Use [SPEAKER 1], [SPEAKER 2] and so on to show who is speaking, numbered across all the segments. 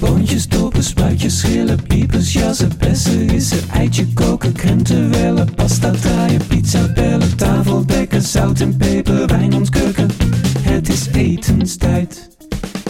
[SPEAKER 1] Boontjes, dopen, spuitjes, schillen, piepers, jassen, bessen, rissen, eitje koken, krenten wellen, pasta draaien, pizza bellen, tafel dekken, zout en peper, wijn ontkurken. Het is etenstijd,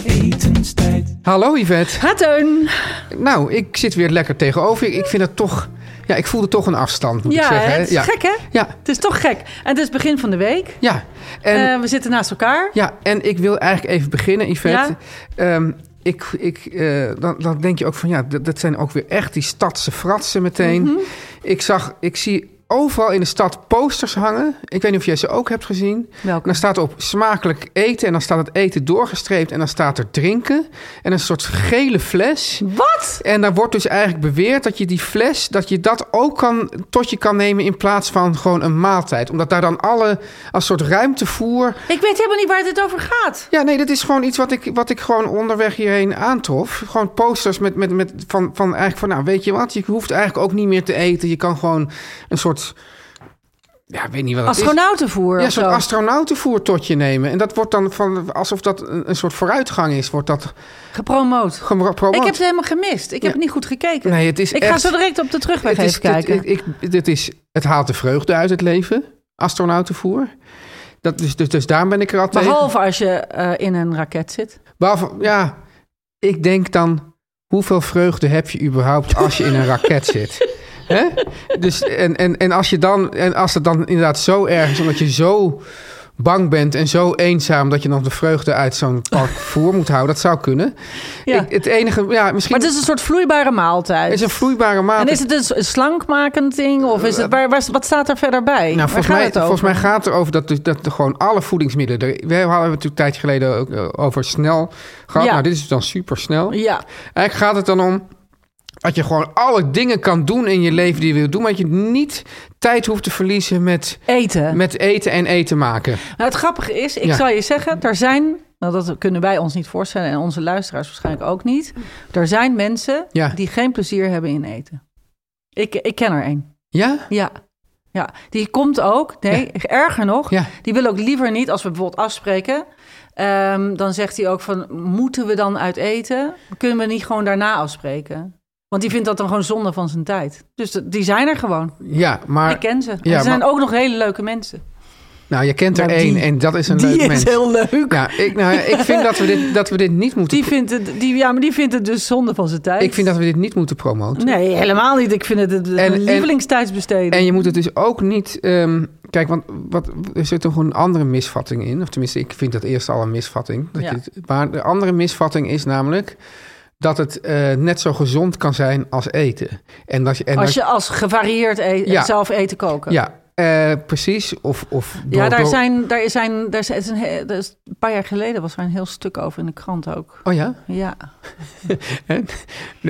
[SPEAKER 1] etenstijd.
[SPEAKER 2] Hallo Yvette.
[SPEAKER 3] Ha, Teun.
[SPEAKER 2] Nou, ik zit weer lekker tegenover je. Ik vind het toch... Ja, ik voelde toch een afstand, moet ik
[SPEAKER 3] Ja,
[SPEAKER 2] zeggen. hè?
[SPEAKER 3] het is
[SPEAKER 2] ja.
[SPEAKER 3] gek hè?
[SPEAKER 2] Ja,
[SPEAKER 3] Het is toch gek. En het is begin van de week.
[SPEAKER 2] ja. En,
[SPEAKER 3] Eh, we zitten naast elkaar.
[SPEAKER 2] ja, en ik wil eigenlijk even beginnen, Yvette. Ehm, ik, ik, eh, dan, dan denk je ook van, ja, dat, dat zijn ook weer echt die stadse fratsen meteen.
[SPEAKER 3] Mhm.
[SPEAKER 2] Ik zag, ik zie overal in de stad posters hangen. Ik weet niet of jij ze ook hebt gezien.
[SPEAKER 3] Welke?
[SPEAKER 2] Dan staat er op smakelijk eten en dan staat het eten doorgestreept en dan staat er drinken. En een soort gele fles.
[SPEAKER 3] Wat?
[SPEAKER 2] En daar wordt dus eigenlijk beweerd dat je die fles, dat je dat ook kan, tot je kan nemen in plaats van gewoon een maaltijd. Omdat daar dan alle, als soort ruimtevoer.
[SPEAKER 3] Ik weet helemaal niet waar dit over gaat.
[SPEAKER 2] Ja, nee, dat is gewoon iets wat ik, wat ik gewoon onderweg hierheen aantrof. Gewoon posters met, met, met van, van eigenlijk van, nou weet je wat, je hoeft eigenlijk ook niet meer te eten. Je kan gewoon een soort, ja, ik weet niet wat het is.
[SPEAKER 3] Astronautenvoer
[SPEAKER 2] Ja, een
[SPEAKER 3] of zo.
[SPEAKER 2] soort astronautenvoer tot je nemen. En dat wordt dan van, alsof dat een, een soort vooruitgang is, wordt dat
[SPEAKER 3] Gepromoot.
[SPEAKER 2] gepromoot.
[SPEAKER 3] Ik heb het helemaal gemist. Ik heb
[SPEAKER 2] Ja.
[SPEAKER 3] niet goed gekeken.
[SPEAKER 2] Nee, het is
[SPEAKER 3] ik ga
[SPEAKER 2] echt-
[SPEAKER 3] zo direct op de terugweg
[SPEAKER 2] Het
[SPEAKER 3] even
[SPEAKER 2] is,
[SPEAKER 3] kijken.
[SPEAKER 2] Het, ik, ik- dit is, het haalt de vreugde uit het leven, astronautenvoer. Dat, dus, dus, dus daarom ben ik er al tegen.
[SPEAKER 3] Behalve als je eh, in een raket zit.
[SPEAKER 2] Behalve- ja, ik denk dan, hoeveel vreugde heb je überhaupt als je in een raket zit? Hè? Dus, en, en, en, als je dan, en als het dan inderdaad zo erg is, omdat je zo bang bent en zo eenzaam... dat je dan de vreugde uit zo'n park voer moet houden, dat zou kunnen.
[SPEAKER 3] Ja.
[SPEAKER 2] Ik- het enige, ja, misschien
[SPEAKER 3] maar het is een soort vloeibare maaltijd.
[SPEAKER 2] is een vloeibare maat.
[SPEAKER 3] en is het een s- een slankmakend ding? Of is het, waar, waar, wat staat er verder bij?
[SPEAKER 2] Nou,
[SPEAKER 3] Waar
[SPEAKER 2] volgens
[SPEAKER 3] gaat
[SPEAKER 2] mij,
[SPEAKER 3] het over?
[SPEAKER 2] volgens mij gaat het erover dat, dus- dat er gewoon alle voedingsmiddelen. Er, we hadden het natuurlijk een tijdje geleden ook eh, over snel gehad.
[SPEAKER 3] Ja.
[SPEAKER 2] Nou, dit is dan supersnel.
[SPEAKER 3] Ja,
[SPEAKER 2] Eigenlijk gaat het dan om dat je gewoon alle dingen kan doen in je leven die je wilt doen. Maar dat je niet tijd hoeft te verliezen met,
[SPEAKER 3] eten.
[SPEAKER 2] met eten en eten maken.
[SPEAKER 3] Nou, het grappige is, ik
[SPEAKER 2] Ja.
[SPEAKER 3] zal je zeggen, er zijn, nou, dat kunnen wij ons niet voorstellen en onze luisteraars waarschijnlijk ook niet. Er zijn mensen
[SPEAKER 2] Ja.
[SPEAKER 3] die geen plezier hebben in eten. Ik, ik ken er een.
[SPEAKER 2] Ja?
[SPEAKER 3] Ja. ja. Die komt ook, nee, erger nog,
[SPEAKER 2] Ja.
[SPEAKER 3] die wil ook liever niet, als we bijvoorbeeld afspreken, ehm, dan zegt hij ook van, moeten we dan uit eten? Kunnen we niet gewoon daarna afspreken? Want die vindt dat dan gewoon zonde van zijn tijd. Dus de- die zijn er gewoon.
[SPEAKER 2] Ja, maar.
[SPEAKER 3] ik ken ze. En
[SPEAKER 2] ja,
[SPEAKER 3] ze zijn
[SPEAKER 2] maar-
[SPEAKER 3] ook nog hele leuke mensen.
[SPEAKER 2] Nou, je kent er
[SPEAKER 3] Nou,
[SPEAKER 2] één
[SPEAKER 3] die-
[SPEAKER 2] en dat is een
[SPEAKER 3] die
[SPEAKER 2] leuk
[SPEAKER 3] is
[SPEAKER 2] mens.
[SPEAKER 3] heel leuk.
[SPEAKER 2] Ja, ik, nou, ja, ik vind dat we dit, dat we dit niet moeten.
[SPEAKER 3] Die vindt het, die, ja, maar die vindt het dus zonde van zijn tijd.
[SPEAKER 2] Ik vind dat we dit niet moeten promoten.
[SPEAKER 3] Nee, helemaal niet. Ik vind het het
[SPEAKER 2] En- en-
[SPEAKER 3] een lievelingstijdsbesteding.
[SPEAKER 2] En je moet het dus ook niet. ehm, kijk, want wat, er zit toch een andere misvatting in. Of tenminste, ik vind dat eerst al een misvatting. Dat
[SPEAKER 3] Ja.
[SPEAKER 2] je het- maar de andere misvatting is namelijk dat het eh, net zo gezond kan zijn als eten. En dat je. En
[SPEAKER 3] als
[SPEAKER 2] dat-
[SPEAKER 3] je als gevarieerd e-
[SPEAKER 2] Ja.
[SPEAKER 3] zelf eten koken.
[SPEAKER 2] ja, eh, precies. Of, of
[SPEAKER 3] Ja,
[SPEAKER 2] door-
[SPEAKER 3] daar
[SPEAKER 2] door-
[SPEAKER 3] zijn, daar zijn, daar zijn, een, he- daar is- een paar jaar geleden was er een heel stuk over in de krant ook.
[SPEAKER 2] Oh ja,
[SPEAKER 3] Ja.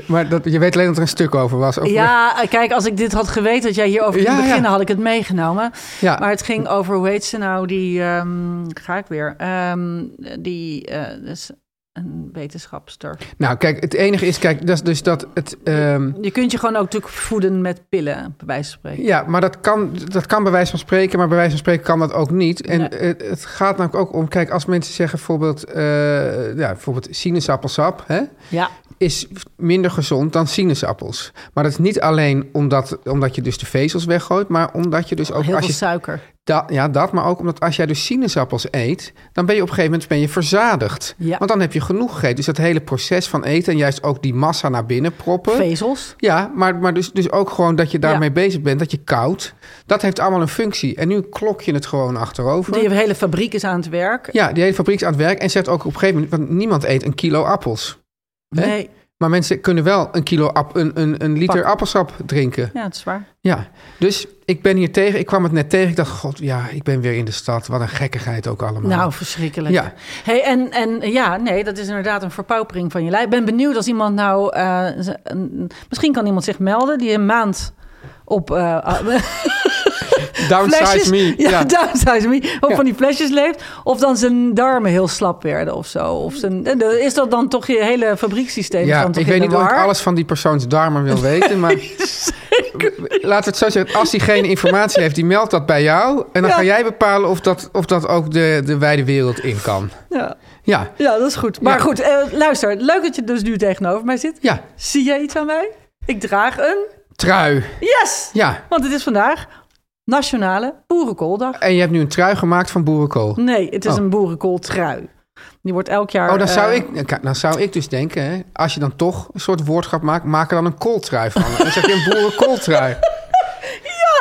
[SPEAKER 2] maar dat, je weet alleen dat er een stuk over was. Over-
[SPEAKER 3] ja, kijk, als ik dit had geweten dat jij hierover ging
[SPEAKER 2] Ja, Ah. ja.
[SPEAKER 3] beginnen, had ik het meegenomen.
[SPEAKER 2] ja.
[SPEAKER 3] Maar het ging over, hoe heet ze nou, die, ehm, ga ik weer, Ehm, die eh, is een wetenschapster.
[SPEAKER 2] Nou, kijk, het enige is, kijk, dat is dus dat het. ehm,
[SPEAKER 3] Je kunt je gewoon ook natuurlijk voeden met pillen, bij wijze van spreken.
[SPEAKER 2] Ja, maar dat kan, dat kan bij wijze van spreken, maar bij wijze van spreken kan dat ook niet. En
[SPEAKER 3] Nee.
[SPEAKER 2] het, het gaat namelijk ook om, kijk, als mensen zeggen bijvoorbeeld, eh, ja, bijvoorbeeld sinaasappelsap, hè?
[SPEAKER 3] Ja.
[SPEAKER 2] is minder gezond dan sinaasappels. Maar dat is niet alleen omdat, omdat je dus de vezels weggooit, maar omdat je dus ook...
[SPEAKER 3] Oh, Heel
[SPEAKER 2] als
[SPEAKER 3] veel
[SPEAKER 2] je,
[SPEAKER 3] suiker.
[SPEAKER 2] Da- ja, dat, maar ook omdat als jij dus sinaasappels eet, dan ben je op een gegeven moment ben je verzadigd.
[SPEAKER 3] Ja.
[SPEAKER 2] Want dan heb je genoeg gegeten. Dus dat hele proces van eten en juist ook die massa naar binnen proppen.
[SPEAKER 3] Vezels.
[SPEAKER 2] ja, maar, maar dus, dus ook gewoon dat je daarmee
[SPEAKER 3] Ja.
[SPEAKER 2] bezig bent, dat je koud. Dat heeft allemaal een functie. En nu klok je het gewoon achterover.
[SPEAKER 3] Die hele fabriek is aan het werk.
[SPEAKER 2] Ja, die hele fabriek is aan het werk en zegt ook op een gegeven moment, want niemand eet een kilo appels. Hè?
[SPEAKER 3] Nee.
[SPEAKER 2] Maar mensen kunnen wel een kilo app, een, een, een liter
[SPEAKER 3] Pak.
[SPEAKER 2] appelsap drinken.
[SPEAKER 3] Ja, het is waar.
[SPEAKER 2] Ja, dus ik ben hier tegen. Ik kwam het net tegen. Ik dacht, god, ja, ik ben weer in de stad. Wat een gekkigheid ook allemaal.
[SPEAKER 3] Nou, verschrikkelijk.
[SPEAKER 2] Ja.
[SPEAKER 3] Hey, en, en ja, nee, dat is inderdaad een verpaupering van je lijf. Ik ben benieuwd als iemand nou... eh, z- een- misschien kan iemand zich melden die een maand op... eh,
[SPEAKER 2] Downsize
[SPEAKER 3] flesjes,
[SPEAKER 2] me.
[SPEAKER 3] Ja,
[SPEAKER 2] Ja.
[SPEAKER 3] downsize me. Ook
[SPEAKER 2] Ja.
[SPEAKER 3] van die flesjes leeft. Of dan zijn darmen heel slap werden of zo. Of zijn, eh, de- is dat dan toch je hele fabriekssysteem? is
[SPEAKER 2] Ja,
[SPEAKER 3] dan toch
[SPEAKER 2] ik
[SPEAKER 3] in
[SPEAKER 2] weet
[SPEAKER 3] de
[SPEAKER 2] niet of ik
[SPEAKER 3] war?
[SPEAKER 2] alles van die persoons darmen wil weten, maar laten we het zo zeggen. Als die geen informatie heeft, die meldt dat bij jou. En dan
[SPEAKER 3] Ja.
[SPEAKER 2] ga jij bepalen of dat, of dat ook de, de wijde wereld in kan.
[SPEAKER 3] Ja.
[SPEAKER 2] Ja,
[SPEAKER 3] ja, dat is goed. Maar
[SPEAKER 2] Ja.
[SPEAKER 3] goed, eh, luister. Leuk dat je dus nu tegenover mij zit.
[SPEAKER 2] ja,
[SPEAKER 3] Zie jij iets aan mij? Ik draag een...
[SPEAKER 2] trui.
[SPEAKER 3] Yes!
[SPEAKER 2] Ja,
[SPEAKER 3] Want het is vandaag Nationale Boerenkooldag.
[SPEAKER 2] en je hebt nu een trui gemaakt van boerenkool.
[SPEAKER 3] Nee, het is
[SPEAKER 2] Oh.
[SPEAKER 3] een boerenkooltrui. Die wordt elk jaar...
[SPEAKER 2] Oh, dan zou,
[SPEAKER 3] eh,
[SPEAKER 2] ik, kijk, dan zou ik dus denken, hè, als je dan toch een soort woordschap maakt, maak er dan een kooltrui van. Dan zeg je een boerenkooltrui.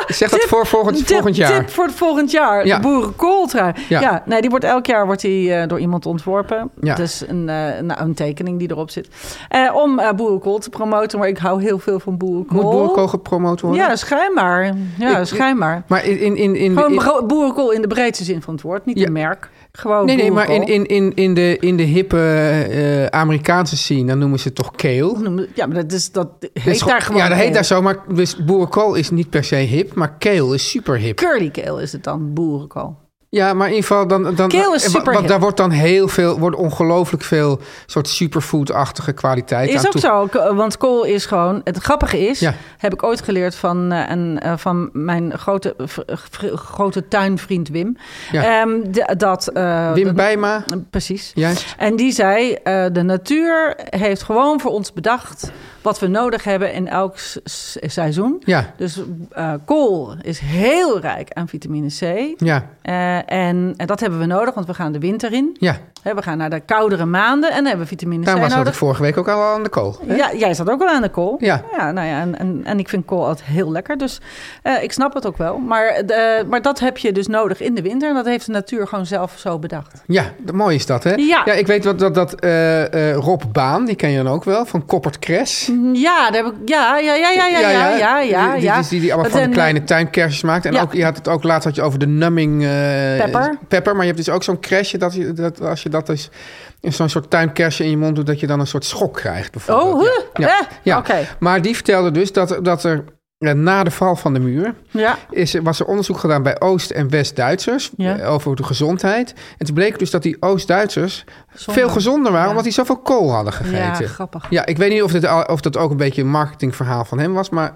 [SPEAKER 2] Ja, zeg dat
[SPEAKER 3] Tip-
[SPEAKER 2] voor volgend,
[SPEAKER 3] tip-
[SPEAKER 2] volgend jaar.
[SPEAKER 3] Tip voor het volgend jaar.
[SPEAKER 2] Ja.
[SPEAKER 3] De boerenkooltrui.
[SPEAKER 2] Ja.
[SPEAKER 3] Ja. nee, die wordt elk jaar wordt die, eh, door iemand ontworpen.
[SPEAKER 2] Ja.
[SPEAKER 3] Dus een, eh, nou, een tekening die erop zit. Eh, om eh, boerenkool te promoten. Maar ik hou heel veel van boerenkool.
[SPEAKER 2] Moet boerenkool gepromoot worden?
[SPEAKER 3] Ja, schijnbaar. Ja,
[SPEAKER 2] Ik-
[SPEAKER 3] schijnbaar.
[SPEAKER 2] Maar in, in, in, in,
[SPEAKER 3] Gewoon
[SPEAKER 2] in-
[SPEAKER 3] bro- boerenkool in de breedste zin van het woord. Niet
[SPEAKER 2] Ja.
[SPEAKER 3] een merk. Gewoon
[SPEAKER 2] nee, nee, maar in,
[SPEAKER 3] boerenkool.
[SPEAKER 2] in, in, in, de, in de hippe eh, Amerikaanse scene, dan noemen ze het toch kale.
[SPEAKER 3] Ja, maar dat, is, dat heet
[SPEAKER 2] Dat is
[SPEAKER 3] daar gewoon...
[SPEAKER 2] Ja, dat heet
[SPEAKER 3] kale.
[SPEAKER 2] daar zo, maar dus boerenkool is niet per se hip, maar kale is super hip.
[SPEAKER 3] Curly kale is het dan, boerenkool.
[SPEAKER 2] Ja, maar in ieder geval dan... dan
[SPEAKER 3] Kale is
[SPEAKER 2] wa-
[SPEAKER 3] super
[SPEAKER 2] want
[SPEAKER 3] hip.
[SPEAKER 2] daar wordt dan heel veel, wordt ongelooflijk veel soort superfood-achtige kwaliteit aan
[SPEAKER 3] Is ook
[SPEAKER 2] toe-
[SPEAKER 3] zo, k- want kool is gewoon... Het grappige is,
[SPEAKER 2] Ja.
[SPEAKER 3] heb ik ooit geleerd van, eh, een, eh, van mijn grote, v- v- grote tuinvriend Wim.
[SPEAKER 2] Ja.
[SPEAKER 3] Ehm, d- dat, eh,
[SPEAKER 2] Wim
[SPEAKER 3] dat-
[SPEAKER 2] Bijma,
[SPEAKER 3] Precies.
[SPEAKER 2] juist.
[SPEAKER 3] En die zei, eh, de natuur heeft gewoon voor ons bedacht... wat we nodig hebben in elk s- s- seizoen.
[SPEAKER 2] Ja,
[SPEAKER 3] Dus eh, kool is heel rijk aan vitamine C.
[SPEAKER 2] ja,
[SPEAKER 3] Eh, en, en dat hebben we nodig, want we gaan de winter in.
[SPEAKER 2] ja.
[SPEAKER 3] Hè, we gaan naar de koudere maanden en dan hebben we vitamine
[SPEAKER 2] Daarom
[SPEAKER 3] C
[SPEAKER 2] was dat ik
[SPEAKER 3] nodig.
[SPEAKER 2] vorige week ook al aan de kool. hè?
[SPEAKER 3] Ja, jij zat ook wel aan de kool.
[SPEAKER 2] Ja.
[SPEAKER 3] nou ja, en, en, en ik vind kool altijd heel lekker. Dus eh, ik snap het ook wel. Maar, de- eh, maar dat heb je dus nodig in de winter. En dat heeft de natuur gewoon zelf zo bedacht.
[SPEAKER 2] Ja, d- mooi is dat, hè?
[SPEAKER 3] Ja.
[SPEAKER 2] ik weet wat, dat, dat eh, eh, Rob Baan, die ken je dan ook wel, van Koppert Kres.
[SPEAKER 3] Ja, daar heb ik, ja, ja, ja, ja, ja, ja, ja, ja, ja.
[SPEAKER 2] Die, die, die, die allemaal
[SPEAKER 3] Dat
[SPEAKER 2] van de
[SPEAKER 3] zijn,
[SPEAKER 2] kleine tuinkersjes maakt. En
[SPEAKER 3] ja.
[SPEAKER 2] ook, je had het ook laatst had je over de numming... eh,
[SPEAKER 3] Pepper.
[SPEAKER 2] Pepper, maar je hebt dus ook zo'n crashje dat, je, dat als je dat dus... in Zo'n soort tuinkersje in je mond doet, dat je dan een soort schok krijgt, bijvoorbeeld.
[SPEAKER 3] Oh, huh?
[SPEAKER 2] Ja.
[SPEAKER 3] Eh,
[SPEAKER 2] Ja.
[SPEAKER 3] oké.
[SPEAKER 2] Maar die vertelde dus dat, dat er eh, na de val van de muur...
[SPEAKER 3] Ja.
[SPEAKER 2] is, er- was er onderzoek gedaan bij Oost- en West-Duitsers
[SPEAKER 3] Ja.
[SPEAKER 2] eh, over de gezondheid. En toen bleek dus dat die Oost-Duitsers
[SPEAKER 3] Zonder.
[SPEAKER 2] veel gezonder waren,
[SPEAKER 3] Ja.
[SPEAKER 2] omdat die zoveel kool hadden
[SPEAKER 3] ja,
[SPEAKER 2] gegeten. Ja,
[SPEAKER 3] grappig.
[SPEAKER 2] ik weet niet of, dit, al- of dat ook een beetje een marketingverhaal van hem was, maar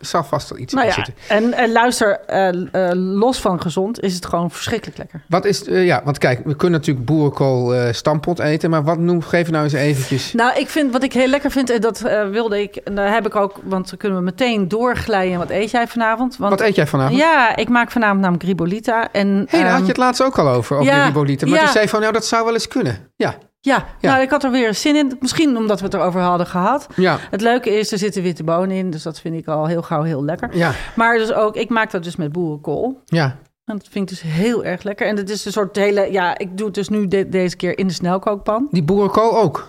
[SPEAKER 2] er zal vast wel iets
[SPEAKER 3] Nou
[SPEAKER 2] in
[SPEAKER 3] ja,
[SPEAKER 2] zitten.
[SPEAKER 3] en, eh, luister, eh, eh, los van gezond is het gewoon verschrikkelijk lekker.
[SPEAKER 2] Wat is, eh, ja, want kijk, we kunnen natuurlijk boerenkool eh stampot eten, maar wat noem, geef nou eens eventjes.
[SPEAKER 3] Nou, ik vind wat ik heel lekker vind, en dat eh, wilde ik, en daar heb ik ook, want dan kunnen we meteen doorglijden. Wat eet jij vanavond? Want,
[SPEAKER 2] wat eet jij vanavond?
[SPEAKER 3] Ja, ik maak vanavond namelijk ribolita. En,
[SPEAKER 2] Hé, daar had
[SPEAKER 3] ehm,
[SPEAKER 2] je het laatst ook al over, over
[SPEAKER 3] ja,
[SPEAKER 2] die ribolieten. Maar
[SPEAKER 3] ja.
[SPEAKER 2] je zei van, nou, dat zou wel eens kunnen. Ja,
[SPEAKER 3] ja,
[SPEAKER 2] Ja.
[SPEAKER 3] nou, ik had er weer zin in. Misschien omdat we het erover hadden gehad.
[SPEAKER 2] ja,
[SPEAKER 3] Het leuke is, er zitten witte bonen in, dus dat vind ik al heel gauw heel lekker.
[SPEAKER 2] ja,
[SPEAKER 3] Maar dus ook, ik maak dat dus met boerenkool.
[SPEAKER 2] ja.
[SPEAKER 3] En dat vind ik dus heel erg lekker. En het is een soort hele, ja, ik doe het dus nu de- deze keer in de snelkookpan.
[SPEAKER 2] Die boerenkool ook.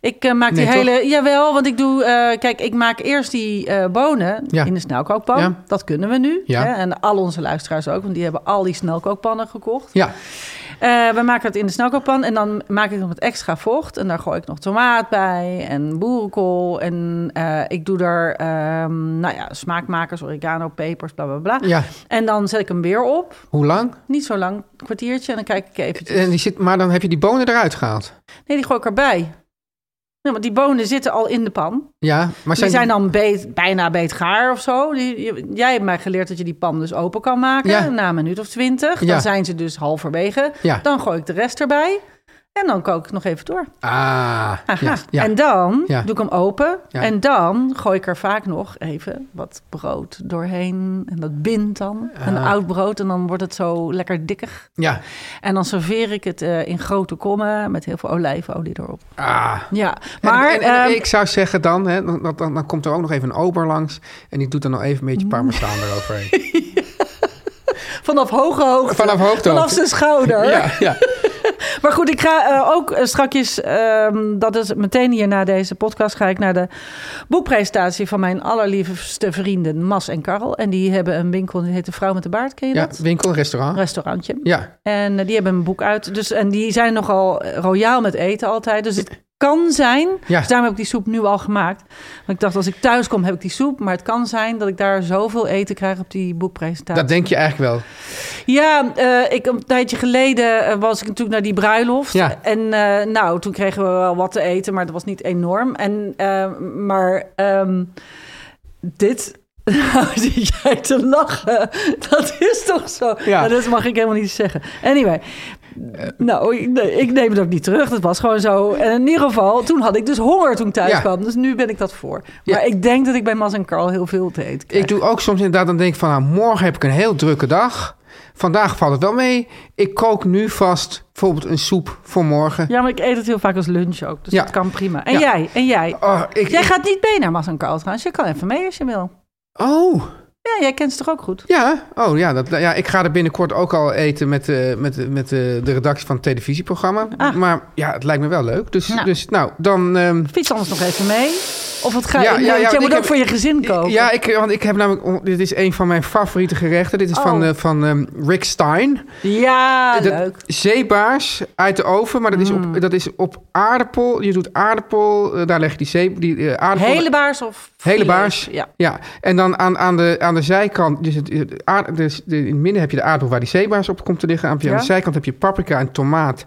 [SPEAKER 3] Ik eh, maak die
[SPEAKER 2] Nee,
[SPEAKER 3] hele. Jawel, want ik doe. eh, kijk, ik maak eerst die eh, bonen
[SPEAKER 2] Ja.
[SPEAKER 3] in de snelkookpan.
[SPEAKER 2] Ja.
[SPEAKER 3] Dat kunnen we nu.
[SPEAKER 2] Ja.
[SPEAKER 3] Hè? En al onze luisteraars ook, want die hebben al die snelkookpannen gekocht.
[SPEAKER 2] Ja,
[SPEAKER 3] Eh, we maken het in de snelkookpan en dan maak ik nog wat extra vocht. En daar gooi ik nog tomaat bij en boerenkool. En eh, ik doe daar, ehm, nou ja, smaakmakers, oregano, pepers, bla bla bla.
[SPEAKER 2] ja.
[SPEAKER 3] En dan zet ik hem weer op.
[SPEAKER 2] Hoe lang?
[SPEAKER 3] Niet zo lang, een kwartiertje. En dan kijk ik eventjes.
[SPEAKER 2] En die zit, maar dan heb je die bonen eruit gehaald.
[SPEAKER 3] Nee, die gooi ik erbij. Nee, want die bonen zitten al in de pan.
[SPEAKER 2] Ja, maar
[SPEAKER 3] Die
[SPEAKER 2] zijn,
[SPEAKER 3] zijn dan beet, bijna beetgaar of zo. Die, je- jij hebt mij geleerd dat je die pan dus open kan maken
[SPEAKER 2] Ja.
[SPEAKER 3] na een minuut of twintig.
[SPEAKER 2] Ja.
[SPEAKER 3] Dan zijn ze dus halverwege.
[SPEAKER 2] Ja.
[SPEAKER 3] Dan gooi ik de rest erbij. En dan kook ik nog even door.
[SPEAKER 2] Ah,
[SPEAKER 3] Aha.
[SPEAKER 2] ja, ja.
[SPEAKER 3] En dan
[SPEAKER 2] Ja.
[SPEAKER 3] doe ik hem open.
[SPEAKER 2] Ja.
[SPEAKER 3] En dan gooi ik er vaak nog even wat brood doorheen. En dat bindt dan. Een
[SPEAKER 2] Ah.
[SPEAKER 3] oud brood. En dan wordt het zo lekker dikkig.
[SPEAKER 2] ja.
[SPEAKER 3] En dan serveer ik het eh, in grote kommen met heel veel olijfolie erop.
[SPEAKER 2] Ah.
[SPEAKER 3] Ja, maar
[SPEAKER 2] Maar en, en
[SPEAKER 3] ehm,
[SPEAKER 2] ik zou zeggen dan, hè, dan, dan, dan komt er ook nog even een ober langs. En die doet dan nog even een beetje
[SPEAKER 3] Mm.
[SPEAKER 2] parmezaan eroverheen.
[SPEAKER 3] vanaf hoge hoogte.
[SPEAKER 2] Vanaf hoogte.
[SPEAKER 3] Vanaf zijn schouder.
[SPEAKER 2] Ja, ja.
[SPEAKER 3] Maar goed, ik ga eh, ook eh, strakjes, ehm, dat is meteen hier na deze podcast, ga ik naar de boekpresentatie van mijn allerliefste vrienden Mas en Karl. En die hebben een winkel, die heet De Vrouw met de Baard, ken je
[SPEAKER 2] ja
[SPEAKER 3] dat?
[SPEAKER 2] winkel, restaurant.
[SPEAKER 3] Restaurantje.
[SPEAKER 2] Ja,
[SPEAKER 3] En eh, die hebben een boek uit. Dus, en die zijn nogal eh, royaal met eten altijd. Dus het kan zijn,
[SPEAKER 2] Ja.
[SPEAKER 3] dus daarom heb ik die soep nu al gemaakt. Want ik dacht, als ik thuis kom, heb ik die soep. Maar het kan zijn dat ik daar zoveel eten krijg op die boekpresentatie.
[SPEAKER 2] dat denk je eigenlijk wel.
[SPEAKER 3] Ja, eh, ik, een tijdje geleden eh, was ik natuurlijk naar die bruiloft.
[SPEAKER 2] Ja.
[SPEAKER 3] En eh, nou, toen kregen we wel wat te eten, maar dat was niet enorm. En, eh, maar ehm, dit... Nou, zit jij te lachen. Dat is toch zo?
[SPEAKER 2] Ja. Eh.
[SPEAKER 3] Nou, dat mag ik helemaal niet zeggen. Anyway. Nou, ik, nee, ik neem het ook niet terug. Dat was gewoon zo. En in ieder geval, toen had ik dus honger toen ik thuis
[SPEAKER 2] Ja.
[SPEAKER 3] kwam. Dus nu ben ik dat voor.
[SPEAKER 2] Ja.
[SPEAKER 3] Maar ik denk dat ik bij Mas en Carl heel veel te eten krijg.
[SPEAKER 2] Ik doe ook soms inderdaad, dan denk ik van, nou, morgen heb ik een heel drukke dag. Vandaag valt het wel mee. Ik kook nu vast bijvoorbeeld een soep voor morgen.
[SPEAKER 3] Ja, maar ik eet het heel vaak als lunch ook. Dus
[SPEAKER 2] Ja.
[SPEAKER 3] dat kan prima. En
[SPEAKER 2] Ja.
[SPEAKER 3] jij? En jij?
[SPEAKER 2] Oh, ik,
[SPEAKER 3] Jij
[SPEAKER 2] ik-
[SPEAKER 3] gaat niet mee naar Mas en Carl trouwens. Je kan even mee als je wil.
[SPEAKER 2] oh,
[SPEAKER 3] Ja, jij kent ze toch ook goed?
[SPEAKER 2] ja. Oh, ja, dat, ja. Ik ga er binnenkort ook al eten met, eh, met, met eh, de redactie van het televisieprogramma.
[SPEAKER 3] Ah.
[SPEAKER 2] Maar ja, het lijkt me wel leuk. Dus
[SPEAKER 3] Nou.
[SPEAKER 2] nou, dus, nou dan... ehm,
[SPEAKER 3] Fiets anders nog even mee. Of wat ga je...
[SPEAKER 2] Ja,
[SPEAKER 3] nee,
[SPEAKER 2] ja, ja,
[SPEAKER 3] want jij
[SPEAKER 2] want
[SPEAKER 3] moet
[SPEAKER 2] ik
[SPEAKER 3] ook
[SPEAKER 2] heb-
[SPEAKER 3] voor je gezin koken.
[SPEAKER 2] Ja, ik, want ik heb namelijk. oh, Dit is een van mijn favoriete gerechten. Dit is van,
[SPEAKER 3] Oh.
[SPEAKER 2] eh, van ehm, Rick Stein.
[SPEAKER 3] Ja,
[SPEAKER 2] Dat-
[SPEAKER 3] leuk. Mm.
[SPEAKER 2] Zeebaars uit de oven, maar dat is, op, dat is op aardappel. Je doet aardappel, eh, daar leg je die, zee, die eh, aardappel.
[SPEAKER 3] Hele baars of...
[SPEAKER 2] Hele
[SPEAKER 3] filet?
[SPEAKER 2] baars.
[SPEAKER 3] Ja.
[SPEAKER 2] Ja, en dan aan, aan, de, aan de zijkant, dus het, het aard- dus de- in het midden heb je de aardappel waar die zeebaars op komt te liggen. Aan,
[SPEAKER 3] Ja.
[SPEAKER 2] aan de zijkant heb je paprika en tomaat,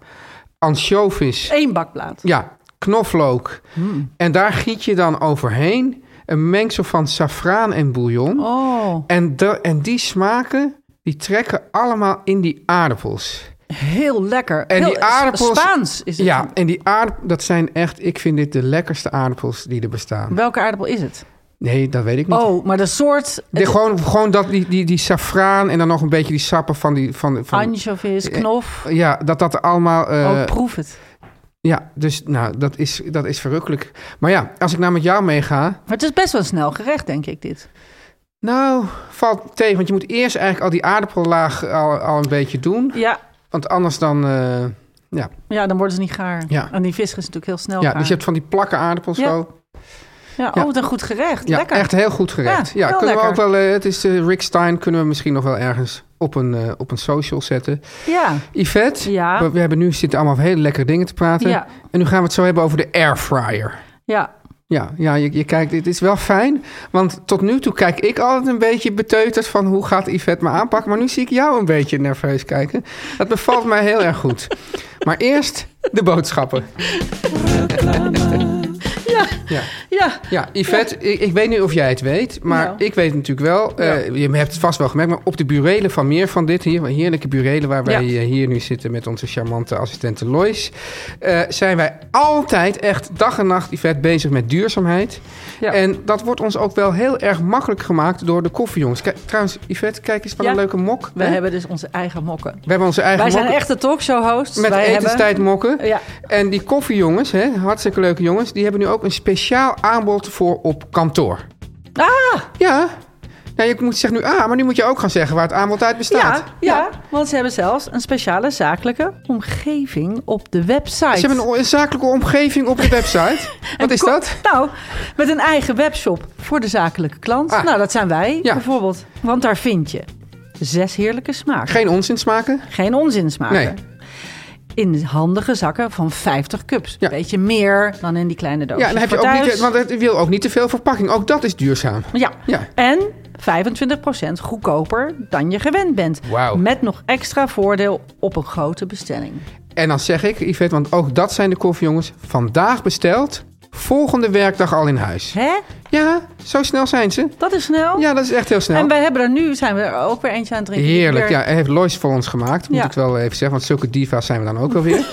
[SPEAKER 2] ansjovis,
[SPEAKER 3] Eén bakplaat.
[SPEAKER 2] ja, knoflook.
[SPEAKER 3] Hmm.
[SPEAKER 2] En daar giet je dan overheen een mengsel van saffraan en bouillon.
[SPEAKER 3] Oh,
[SPEAKER 2] En, da- en die smaken, die trekken allemaal in die aardappels.
[SPEAKER 3] heel lekker.
[SPEAKER 2] En
[SPEAKER 3] Heel-
[SPEAKER 2] die aardappels-
[SPEAKER 3] Spaans is het.
[SPEAKER 2] Ja, en die aardappels, dat zijn echt, ik vind dit de lekkerste aardappels die er bestaan.
[SPEAKER 3] Welke aardappel is het?
[SPEAKER 2] Nee, dat weet ik niet.
[SPEAKER 3] Oh, maar de soort...
[SPEAKER 2] De, gewoon gewoon dat, die, die, die saffraan en dan nog een beetje die sappen van die... Van, van,
[SPEAKER 3] Anchovies, knof.
[SPEAKER 2] ja, dat dat allemaal... eh,
[SPEAKER 3] oh, proef het.
[SPEAKER 2] ja, dus nou, dat is, dat is verrukkelijk. Maar ja, als ik nou met jou meega...
[SPEAKER 3] Maar het is best wel een snel gerecht, denk ik, dit.
[SPEAKER 2] Nou, valt tegen, want je moet eerst eigenlijk al die aardappellaag al, al een beetje doen.
[SPEAKER 3] Ja,
[SPEAKER 2] Want anders dan... eh,
[SPEAKER 3] ja dan worden ze niet gaar.
[SPEAKER 2] Ja.
[SPEAKER 3] En die vis is natuurlijk heel snel
[SPEAKER 2] ja,
[SPEAKER 3] gaar.
[SPEAKER 2] dus je hebt van die plakken aardappels
[SPEAKER 3] Ja.
[SPEAKER 2] zo.
[SPEAKER 3] Ja, oh,
[SPEAKER 2] Ja.
[SPEAKER 3] wat een goed gerecht.
[SPEAKER 2] Ja,
[SPEAKER 3] Lekker.
[SPEAKER 2] echt heel goed gerecht.
[SPEAKER 3] Ja,
[SPEAKER 2] Ja,
[SPEAKER 3] heel
[SPEAKER 2] kunnen we ook
[SPEAKER 3] lekker.
[SPEAKER 2] wel. eh, het is eh, Rick Stein, kunnen we misschien nog wel ergens op een, eh, op een social zetten.
[SPEAKER 3] Ja.
[SPEAKER 2] Yvette,
[SPEAKER 3] Ja.
[SPEAKER 2] we, we hebben nu zitten allemaal over hele lekkere dingen te praten.
[SPEAKER 3] Ja.
[SPEAKER 2] En nu gaan we het zo hebben over de airfryer.
[SPEAKER 3] Ja.
[SPEAKER 2] Ja, ja je, je kijkt, het is wel fijn. Want tot nu toe kijk ik altijd een beetje beteuterd van hoe gaat Yvette me aanpakken. Maar nu zie ik jou een beetje nerveus kijken. Dat bevalt mij heel erg goed. Maar eerst de boodschappen.
[SPEAKER 3] Ja.
[SPEAKER 2] Ja.
[SPEAKER 3] Ja.
[SPEAKER 2] Ja, Yvette, Ik, ik weet niet of jij het weet, maar
[SPEAKER 3] Nou.
[SPEAKER 2] ik weet het natuurlijk wel. eh, je hebt het vast wel gemerkt, maar op de burelen van meer van dit hier, heerlijke burelen waar wij
[SPEAKER 3] Ja.
[SPEAKER 2] eh, hier nu zitten met onze charmante assistente Lois, eh, zijn wij altijd echt dag en nacht, Yvette, bezig met duurzaamheid.
[SPEAKER 3] Ja.
[SPEAKER 2] En dat wordt ons ook wel heel erg makkelijk gemaakt door de koffiejongens. Kijk, trouwens, Yvette, kijk eens wat
[SPEAKER 3] Ja.
[SPEAKER 2] een leuke mok.
[SPEAKER 3] We
[SPEAKER 2] hè?
[SPEAKER 3] hebben dus onze eigen mokken.
[SPEAKER 2] we hebben onze eigen
[SPEAKER 3] Wij zijn
[SPEAKER 2] mokken
[SPEAKER 3] echte talkshow-hosts.
[SPEAKER 2] met
[SPEAKER 3] Wij hebben-
[SPEAKER 2] etenstijd mokken.
[SPEAKER 3] Ja.
[SPEAKER 2] En die koffiejongens, hè, hartstikke leuke jongens, die hebben nu ook een speciaal aanbod voor op kantoor.
[SPEAKER 3] Ah,
[SPEAKER 2] Ja. Nou, je moet zeggen nu ah, maar nu moet je ook gaan zeggen waar het aanbod uit
[SPEAKER 3] ja,
[SPEAKER 2] bestaat.
[SPEAKER 3] ja, Want ze hebben zelfs een speciale zakelijke omgeving op de website.
[SPEAKER 2] Ze hebben een, o- een zakelijke omgeving op de website. Wat is dat?
[SPEAKER 3] Nou, met een eigen webshop voor de zakelijke klant.
[SPEAKER 2] Ah.
[SPEAKER 3] Nou, dat zijn wij
[SPEAKER 2] Ja.
[SPEAKER 3] bijvoorbeeld. Want daar vind je zes heerlijke smaken.
[SPEAKER 2] Geen onzin smaken?
[SPEAKER 3] Geen onzin smaken.
[SPEAKER 2] Nee.
[SPEAKER 3] In handige zakken van 50 cups.
[SPEAKER 2] Ja.
[SPEAKER 3] Beetje meer dan in die kleine doosjes.
[SPEAKER 2] Ja, dan heb je
[SPEAKER 3] voor
[SPEAKER 2] ook niet,
[SPEAKER 3] thuis.
[SPEAKER 2] te- want het wil ook niet te veel verpakking. Ook dat is duurzaam.
[SPEAKER 3] Ja.
[SPEAKER 2] Ja.
[SPEAKER 3] En 25% goedkoper dan je gewend bent.
[SPEAKER 2] Wauw.
[SPEAKER 3] Met nog extra voordeel op een grote bestelling.
[SPEAKER 2] En dan zeg ik, Yvette, want ook dat zijn de koffiejongens. Vandaag besteld, volgende werkdag al in huis.
[SPEAKER 3] Hè?
[SPEAKER 2] Ja, zo snel zijn ze.
[SPEAKER 3] Dat is snel.
[SPEAKER 2] Ja, dat is echt heel snel.
[SPEAKER 3] En wij hebben er nu, zijn we er ook weer eentje aan het drinken.
[SPEAKER 2] Heerlijk,
[SPEAKER 3] Weer-
[SPEAKER 2] ja. Hij heeft Lois voor ons gemaakt, moet
[SPEAKER 3] Ja.
[SPEAKER 2] ik wel even zeggen. Want zulke diva's zijn we dan ook wel weer.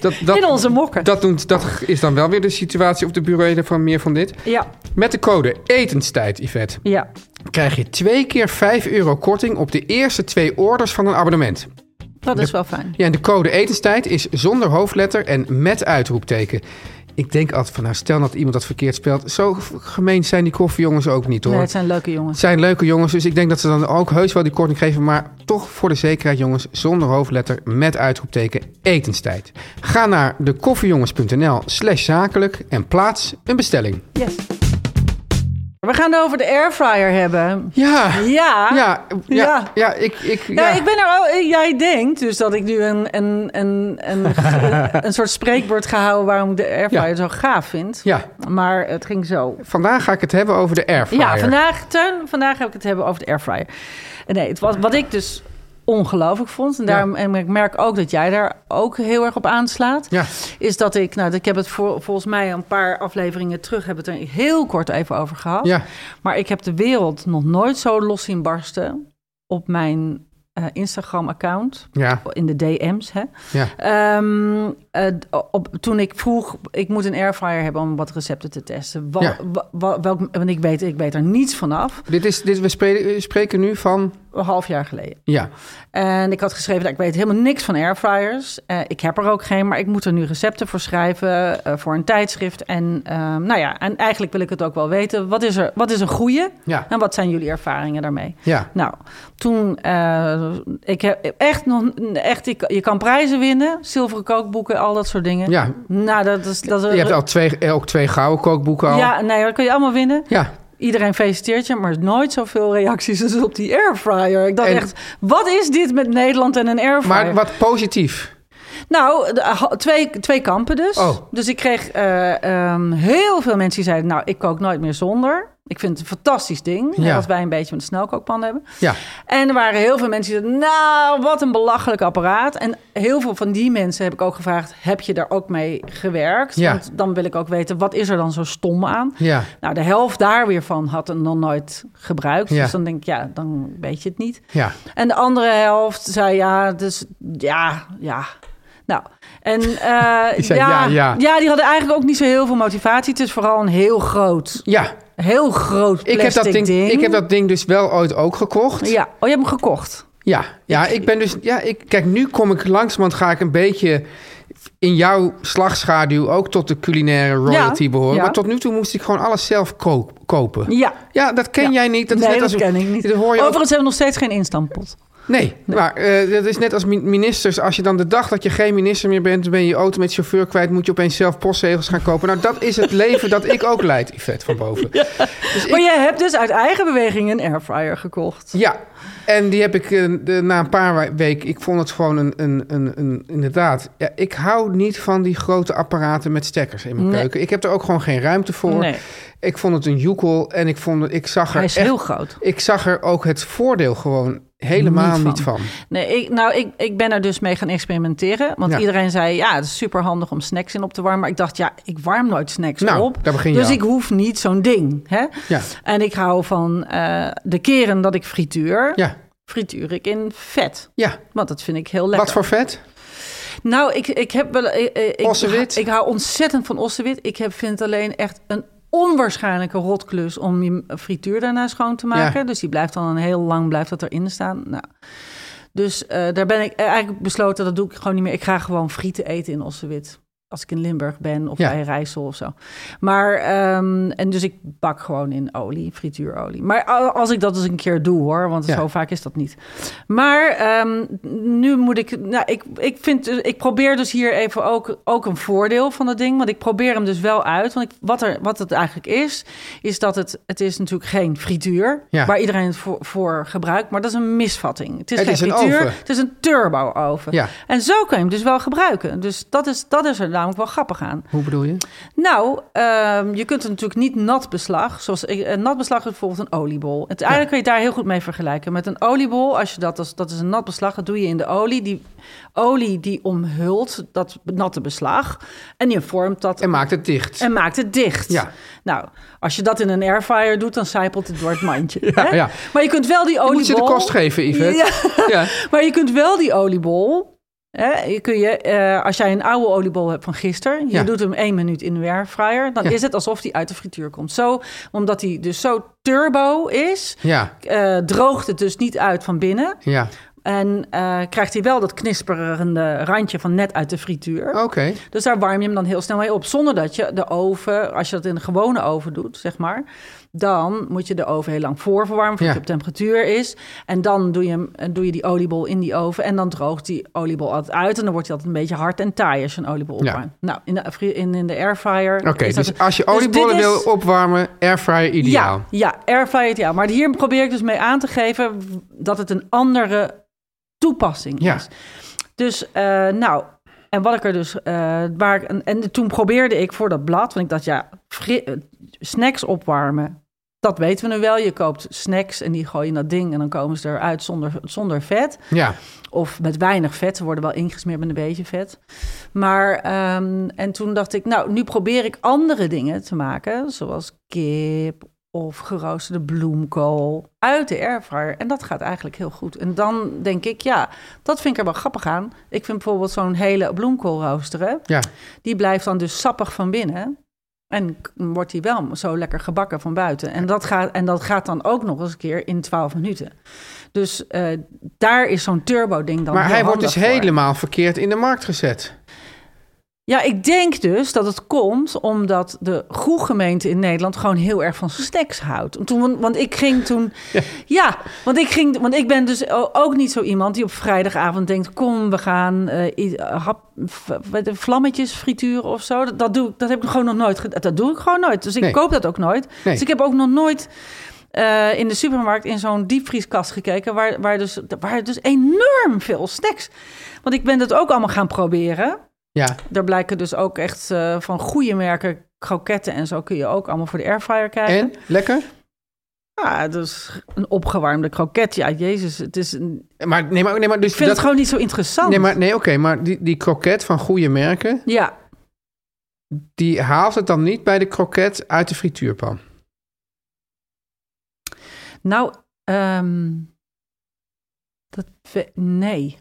[SPEAKER 2] Dat, dat,
[SPEAKER 3] in onze mokken.
[SPEAKER 2] dat, doet, dat is dan wel weer de situatie op de bureau van meer van dit.
[SPEAKER 3] Ja,
[SPEAKER 2] Met de code etenstijd, Yvette,
[SPEAKER 3] ja.
[SPEAKER 2] krijg je twee keer 5 euro korting op de eerste twee orders van een abonnement.
[SPEAKER 3] Dat is wel fijn.
[SPEAKER 2] Ja, en de code etenstijd is zonder hoofdletter en met uitroepteken. Ik denk altijd van, nou stel dat iemand dat verkeerd speelt. Zo gemeen zijn die koffiejongens ook niet hoor.
[SPEAKER 3] Nee, het zijn leuke jongens.
[SPEAKER 2] Het zijn leuke jongens, dus ik denk dat ze dan ook heus wel die korting geven. Maar toch voor de zekerheid, jongens, zonder hoofdletter, met uitroepteken, etenstijd. Ga naar dekoffiejongens.nl slash zakelijk en plaats een bestelling.
[SPEAKER 3] Yes. We gaan het over de airfryer hebben.
[SPEAKER 2] Ja,
[SPEAKER 3] Ja.
[SPEAKER 2] ja, ja,
[SPEAKER 3] Ja.
[SPEAKER 2] ja, ik, ik, ja.
[SPEAKER 3] Ja, Nou, ik ben er. al- Jij denkt dus dat ik nu een, een, een, een, een soort spreekwoord ga houden waarom ik de airfryer
[SPEAKER 2] Ja.
[SPEAKER 3] zo gaaf vind.
[SPEAKER 2] Ja,
[SPEAKER 3] Maar het ging zo.
[SPEAKER 2] vandaag ga ik het hebben over de airfryer.
[SPEAKER 3] Ja, vandaag, Teun, vandaag heb ik het hebben over de airfryer. En Nee, het was, wat ik dus ongelooflijk vond, en, daarom, en ik merk ook dat jij daar ook heel erg op aanslaat,
[SPEAKER 2] Ja.
[SPEAKER 3] is dat ik, nou, ik heb het vol- volgens mij een paar afleveringen terug, hebben we het er heel kort even over gehad.
[SPEAKER 2] Ja.
[SPEAKER 3] Maar ik heb de wereld nog nooit zo los zien barsten op mijn eh, Instagram-account,
[SPEAKER 2] Ja,
[SPEAKER 3] in de DM's, hè.
[SPEAKER 2] ja,
[SPEAKER 3] Ehm, eh, d- op, toen ik vroeg, ik moet een airfryer hebben om wat recepten te testen. Wa-
[SPEAKER 2] Ja.
[SPEAKER 3] wa- wa- welk, want ik weet, ik weet er niets vanaf,
[SPEAKER 2] Dit is, dit, we spreken, spreken nu van,
[SPEAKER 3] een half jaar geleden.
[SPEAKER 2] ja,
[SPEAKER 3] En ik had geschreven, nou, ik weet helemaal niks van airfryers. Eh, ik heb er ook geen, maar ik moet er nu recepten voor schrijven, eh, voor een tijdschrift. En ehm, nou ja, en eigenlijk wil ik het ook wel weten. Wat is, er, wat is een goede
[SPEAKER 2] ja,
[SPEAKER 3] en wat zijn jullie ervaringen daarmee?
[SPEAKER 2] ja,
[SPEAKER 3] Nou, toen, eh, ik heb echt nog, echt, ik, je kan prijzen winnen, zilveren kookboeken, al dat soort dingen.
[SPEAKER 2] ja.
[SPEAKER 3] Nou, dat is... Dat is
[SPEAKER 2] Je hebt al twee, ook twee gouden kookboeken al.
[SPEAKER 3] Ja, nee, dat kun je allemaal winnen.
[SPEAKER 2] ja.
[SPEAKER 3] Iedereen feliciteert je, maar nooit zoveel reacties als op die airfryer. Ik dacht
[SPEAKER 2] En-
[SPEAKER 3] echt, wat is dit met Nederland en een airfryer?
[SPEAKER 2] Maar wat positief.
[SPEAKER 3] Nou, de- ha- twee, twee kampen dus.
[SPEAKER 2] Oh.
[SPEAKER 3] Dus ik kreeg eh, ehm, heel veel mensen die zeiden... nou, ik kook nooit meer zonder. Ik vind het een fantastisch ding.
[SPEAKER 2] Ja.
[SPEAKER 3] Wat wij een beetje met de snelkookpan hebben.
[SPEAKER 2] Ja,
[SPEAKER 3] En er waren heel veel mensen die zeiden... nou, wat een belachelijk apparaat. En heel veel van die mensen heb ik ook gevraagd... heb je daar ook mee gewerkt?
[SPEAKER 2] Ja.
[SPEAKER 3] Want dan wil ik ook weten, wat is er dan zo stom aan?
[SPEAKER 2] ja,
[SPEAKER 3] Nou, de helft daar weer van had hem nog nooit gebruikt.
[SPEAKER 2] Ja.
[SPEAKER 3] Dus dan denk ik, ja, dan weet je het niet.
[SPEAKER 2] ja.
[SPEAKER 3] En de andere helft zei, ja, dus ja, ja. Nou, en eh,
[SPEAKER 2] Die zei, ja, ja.
[SPEAKER 3] die hadden eigenlijk ook niet zo heel veel motivatie. Het is vooral een heel groot,
[SPEAKER 2] Ja,
[SPEAKER 3] heel groot plastic
[SPEAKER 2] ik heb, dat ding,
[SPEAKER 3] ding.
[SPEAKER 2] ik heb dat ding dus wel ooit ook gekocht.
[SPEAKER 3] Ja, oh, je hebt hem gekocht.
[SPEAKER 2] Ja, ja, ik ben dus. Ja, ik, kijk, nu kom ik langzamerhand ga ik een beetje in jouw slagschaduw ook tot de culinaire royalty
[SPEAKER 3] Ja,
[SPEAKER 2] behoren.
[SPEAKER 3] ja.
[SPEAKER 2] Maar tot nu toe moest ik gewoon alles zelf ko- kopen.
[SPEAKER 3] Ja.
[SPEAKER 2] Ja, dat ken
[SPEAKER 3] Ja.
[SPEAKER 2] jij niet. Dat
[SPEAKER 3] nee,
[SPEAKER 2] is net
[SPEAKER 3] dat
[SPEAKER 2] als,
[SPEAKER 3] ken ik niet.
[SPEAKER 2] dat hoor je ook-
[SPEAKER 3] Overigens hebben we nog steeds geen instantpot.
[SPEAKER 2] nee, maar eh, dat is net als min- ministers. Als je dan de dag dat je geen minister meer bent, dan ben je je auto met chauffeur kwijt, moet je opeens zelf postzegels gaan kopen. Nou, dat is het leven dat ik ook leid, Yvette van Boven.
[SPEAKER 3] Maar jij hebt dus uit eigen beweging een airfryer gekocht.
[SPEAKER 2] Ja, en die heb ik eh, de- na een paar weken. Ik vond het gewoon een. een, een, een inderdaad. Ja, ik hou niet van die grote apparaten met stekkers in mijn
[SPEAKER 3] Nee.
[SPEAKER 2] keuken. Ik heb er ook gewoon geen ruimte voor.
[SPEAKER 3] Nee,
[SPEAKER 2] Ik vond het een joekel en ik, vond het, ik, zag er
[SPEAKER 3] hij is
[SPEAKER 2] echt-
[SPEAKER 3] heel groot.
[SPEAKER 2] ik zag er ook het voordeel gewoon helemaal niet
[SPEAKER 3] Niet
[SPEAKER 2] van.
[SPEAKER 3] van. Nee, ik, nou, ik, ik ben er dus mee gaan experimenteren. Want
[SPEAKER 2] Ja.
[SPEAKER 3] iedereen zei, ja, het is super handig om snacks in op te warmen. Maar ik dacht, ja, ik warm nooit snacks
[SPEAKER 2] Nou,
[SPEAKER 3] op.
[SPEAKER 2] daar begin je
[SPEAKER 3] dus
[SPEAKER 2] al.
[SPEAKER 3] ik hoef niet zo'n ding. Hè?
[SPEAKER 2] Ja.
[SPEAKER 3] En ik hou van eh, de keren dat ik frituur,
[SPEAKER 2] Ja,
[SPEAKER 3] frituur ik in vet.
[SPEAKER 2] ja.
[SPEAKER 3] Want dat vind ik heel lekker.
[SPEAKER 2] wat voor vet?
[SPEAKER 3] Nou, ik, ik heb wel... eh, eh, Ik,
[SPEAKER 2] Ossewit?
[SPEAKER 3] Ik, hou ontzettend van ossewit. Ik heb, vind het alleen echt een onwaarschijnlijke rotklus om je frituur daarna schoon te maken.
[SPEAKER 2] Ja.
[SPEAKER 3] Dus die blijft dan een heel lang blijft dat erin staan. Nou, dus eh, daar ben ik eigenlijk besloten, dat doe ik gewoon niet meer. Ik ga gewoon frieten eten in ossewit. Als ik in Limburg ben of
[SPEAKER 2] Ja.
[SPEAKER 3] bij Rijssel of zo. Maar, ehm, en dus ik bak gewoon in olie, frituurolie. Maar a- als ik dat eens een keer doe hoor, want
[SPEAKER 2] Ja.
[SPEAKER 3] zo vaak is dat niet. Maar ehm, nu moet ik, nou, ik, ik, vind, ik probeer dus hier even ook, ook een voordeel van dat ding. Want ik probeer hem dus wel uit. Want ik, wat, er, wat het eigenlijk is, is dat het, het is natuurlijk geen frituur.
[SPEAKER 2] Ja.
[SPEAKER 3] Waar iedereen het voor, voor gebruikt. Maar dat is een misvatting. Het is
[SPEAKER 2] Het
[SPEAKER 3] geen
[SPEAKER 2] is een
[SPEAKER 3] frituur,
[SPEAKER 2] oven.
[SPEAKER 3] het is een turbo-oven.
[SPEAKER 2] Ja.
[SPEAKER 3] En zo kan je hem dus wel gebruiken. Dus dat is, dat is er namelijk wel grappig aan.
[SPEAKER 2] Hoe bedoel je?
[SPEAKER 3] Nou, ehm, je kunt het natuurlijk niet nat beslag. Zoals, ik- een nat beslag is bijvoorbeeld een oliebol. Het, eigenlijk kun je het daar heel goed mee vergelijken. Met een oliebol, als je dat, als, dat is een nat beslag, dat doe je in de olie. Die olie die omhult dat natte beslag. En je vormt dat
[SPEAKER 2] En maakt het dicht.
[SPEAKER 3] en maakt het dicht.
[SPEAKER 2] Ja.
[SPEAKER 3] Nou, als je dat in een airfryer doet, dan zijpelt het door het mandje. hè?
[SPEAKER 2] ja.
[SPEAKER 3] Maar je kunt wel die
[SPEAKER 2] Je
[SPEAKER 3] oliebol...
[SPEAKER 2] moet ze de kost geven, Yvette.
[SPEAKER 3] Ja.
[SPEAKER 2] Ja.
[SPEAKER 3] Maar je kunt wel die oliebol Hè, je kun je, eh, als jij een oude oliebol hebt van gisteren, je
[SPEAKER 2] Ja.
[SPEAKER 3] doet hem één minuut in de airfryer, dan
[SPEAKER 2] Ja.
[SPEAKER 3] is het alsof die uit de frituur komt. Zo, omdat die dus zo turbo is,
[SPEAKER 2] Ja,
[SPEAKER 3] eh, droogt het dus niet uit van binnen.
[SPEAKER 2] ja.
[SPEAKER 3] En eh, krijgt hij wel dat knisperende randje van net uit de frituur.
[SPEAKER 2] Oké.
[SPEAKER 3] Dus daar warm je hem dan heel snel mee op. Zonder dat je de oven, als je dat in een gewone oven doet, zeg maar. Dan moet je de oven heel lang voorverwarmen, voordat
[SPEAKER 2] Ja.
[SPEAKER 3] hij op temperatuur is. En dan doe je, hem, eh, doe je die oliebol in die oven. En dan droogt die oliebol altijd uit. En dan wordt hij altijd een beetje hard en taai als je een oliebol
[SPEAKER 2] Ja.
[SPEAKER 3] opwarmt. Nou, in de, fri- in, in de airfryer...
[SPEAKER 2] Oké,
[SPEAKER 3] is dat-
[SPEAKER 2] dus als je
[SPEAKER 3] Dus
[SPEAKER 2] oliebollen
[SPEAKER 3] dit is-
[SPEAKER 2] wil opwarmen, airfryer ideaal.
[SPEAKER 3] Ja, ja airfryer ideaal. Maar hier probeer ik dus mee aan te geven dat het een andere toepassing
[SPEAKER 2] Ja.
[SPEAKER 3] is. Dus eh, nou, en wat ik er dus, eh, waar ik, en, en toen probeerde ik voor dat blad, want ik dacht ja, fri- eh, snacks opwarmen, dat weten we nu wel. Je koopt snacks en die gooi je in dat ding en dan komen ze eruit zonder, zonder vet.
[SPEAKER 2] Ja,
[SPEAKER 3] Of met weinig vet. Ze worden wel ingesmeerd met een beetje vet. Maar, ehm, en toen dacht ik, nou, nu probeer ik andere dingen te maken. Zoals kip of geroosterde bloemkool uit de airfryer. En dat gaat eigenlijk heel goed. En dan denk ik, ja, dat vind ik er wel grappig aan. Ik vind bijvoorbeeld zo'n hele bloemkool roosteren.
[SPEAKER 2] ja.
[SPEAKER 3] Die blijft dan dus sappig van binnen. En k- wordt die wel zo lekker gebakken van buiten. En dat gaat, en dat gaat dan ook nog eens een keer in 12 minuten. Dus eh, daar is zo'n turbo-ding dan.
[SPEAKER 2] Maar
[SPEAKER 3] heel
[SPEAKER 2] hij wordt dus
[SPEAKER 3] handig voor.
[SPEAKER 2] helemaal verkeerd in de markt gezet.
[SPEAKER 3] Ja, ik denk dus dat het komt omdat de groegemeente in Nederland gewoon heel erg van snacks houdt. En Toen, want ik ging toen. Ja, want, ik ging, want ik ben dus o- ook niet zo iemand die op vrijdagavond denkt: kom, we gaan eh, i- hap, v- wat- vlammetjes frituren of zo. Dat, dat, doe, ik- dat heb ik gewoon nog nooit gedaan. Dat doe ik gewoon nooit. Dus ik
[SPEAKER 2] Nee.
[SPEAKER 3] koop dat ook nooit.
[SPEAKER 2] Nee.
[SPEAKER 3] Dus ik heb ook nog nooit. eh, in de supermarkt in zo'n diepvrieskast gekeken, waar, waar, dus, waar dus enorm veel snacks. Want ik ben dat ook allemaal gaan proberen.
[SPEAKER 2] Ja,
[SPEAKER 3] Daar blijken dus ook echt eh, van goede merken kroketten en zo kun je ook allemaal voor de airfryer krijgen.
[SPEAKER 2] en? Lekker?
[SPEAKER 3] Ja, dus een opgewarmde kroket. Ja, jezus, het is een, ik
[SPEAKER 2] Maar nee, maar, nee, maar dus
[SPEAKER 3] vind
[SPEAKER 2] dat...
[SPEAKER 3] het gewoon niet zo interessant.
[SPEAKER 2] Nee, maar, nee oké, maar die, die kroket van goede merken,
[SPEAKER 3] Ja,
[SPEAKER 2] die haalt het dan niet bij de kroket uit de frituurpan.
[SPEAKER 3] nou, ehm, dat we- nee.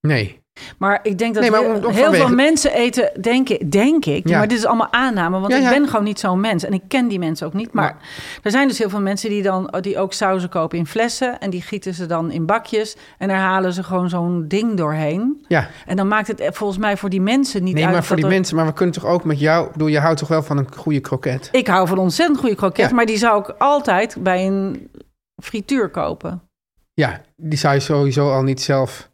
[SPEAKER 2] Nee.
[SPEAKER 3] Maar ik denk dat
[SPEAKER 2] Nee, maar
[SPEAKER 3] heel,
[SPEAKER 2] om- om
[SPEAKER 3] heel
[SPEAKER 2] vanwege-
[SPEAKER 3] veel mensen eten, denk ik, denk ik
[SPEAKER 2] Ja.
[SPEAKER 3] maar dit is allemaal aanname, want
[SPEAKER 2] Ja, ja.
[SPEAKER 3] ik ben gewoon niet zo'n mens. En ik ken die mensen ook niet, maar er zijn dus heel veel mensen die dan die ook sauzen kopen in flessen en die gieten ze dan in bakjes en daar halen ze gewoon zo'n ding doorheen.
[SPEAKER 2] Ja.
[SPEAKER 3] En dan maakt het eh, volgens mij voor die mensen niet
[SPEAKER 2] Nee,
[SPEAKER 3] uit.
[SPEAKER 2] maar voor
[SPEAKER 3] dat
[SPEAKER 2] die
[SPEAKER 3] er-
[SPEAKER 2] mensen, maar we kunnen toch ook met jou... Ik bedoel, je houdt toch wel van een goede kroket?
[SPEAKER 3] Ik hou van ontzettend goede kroket,
[SPEAKER 2] Ja.
[SPEAKER 3] maar die zou ik altijd bij een frituur kopen.
[SPEAKER 2] Ja, die zou je sowieso al niet zelf...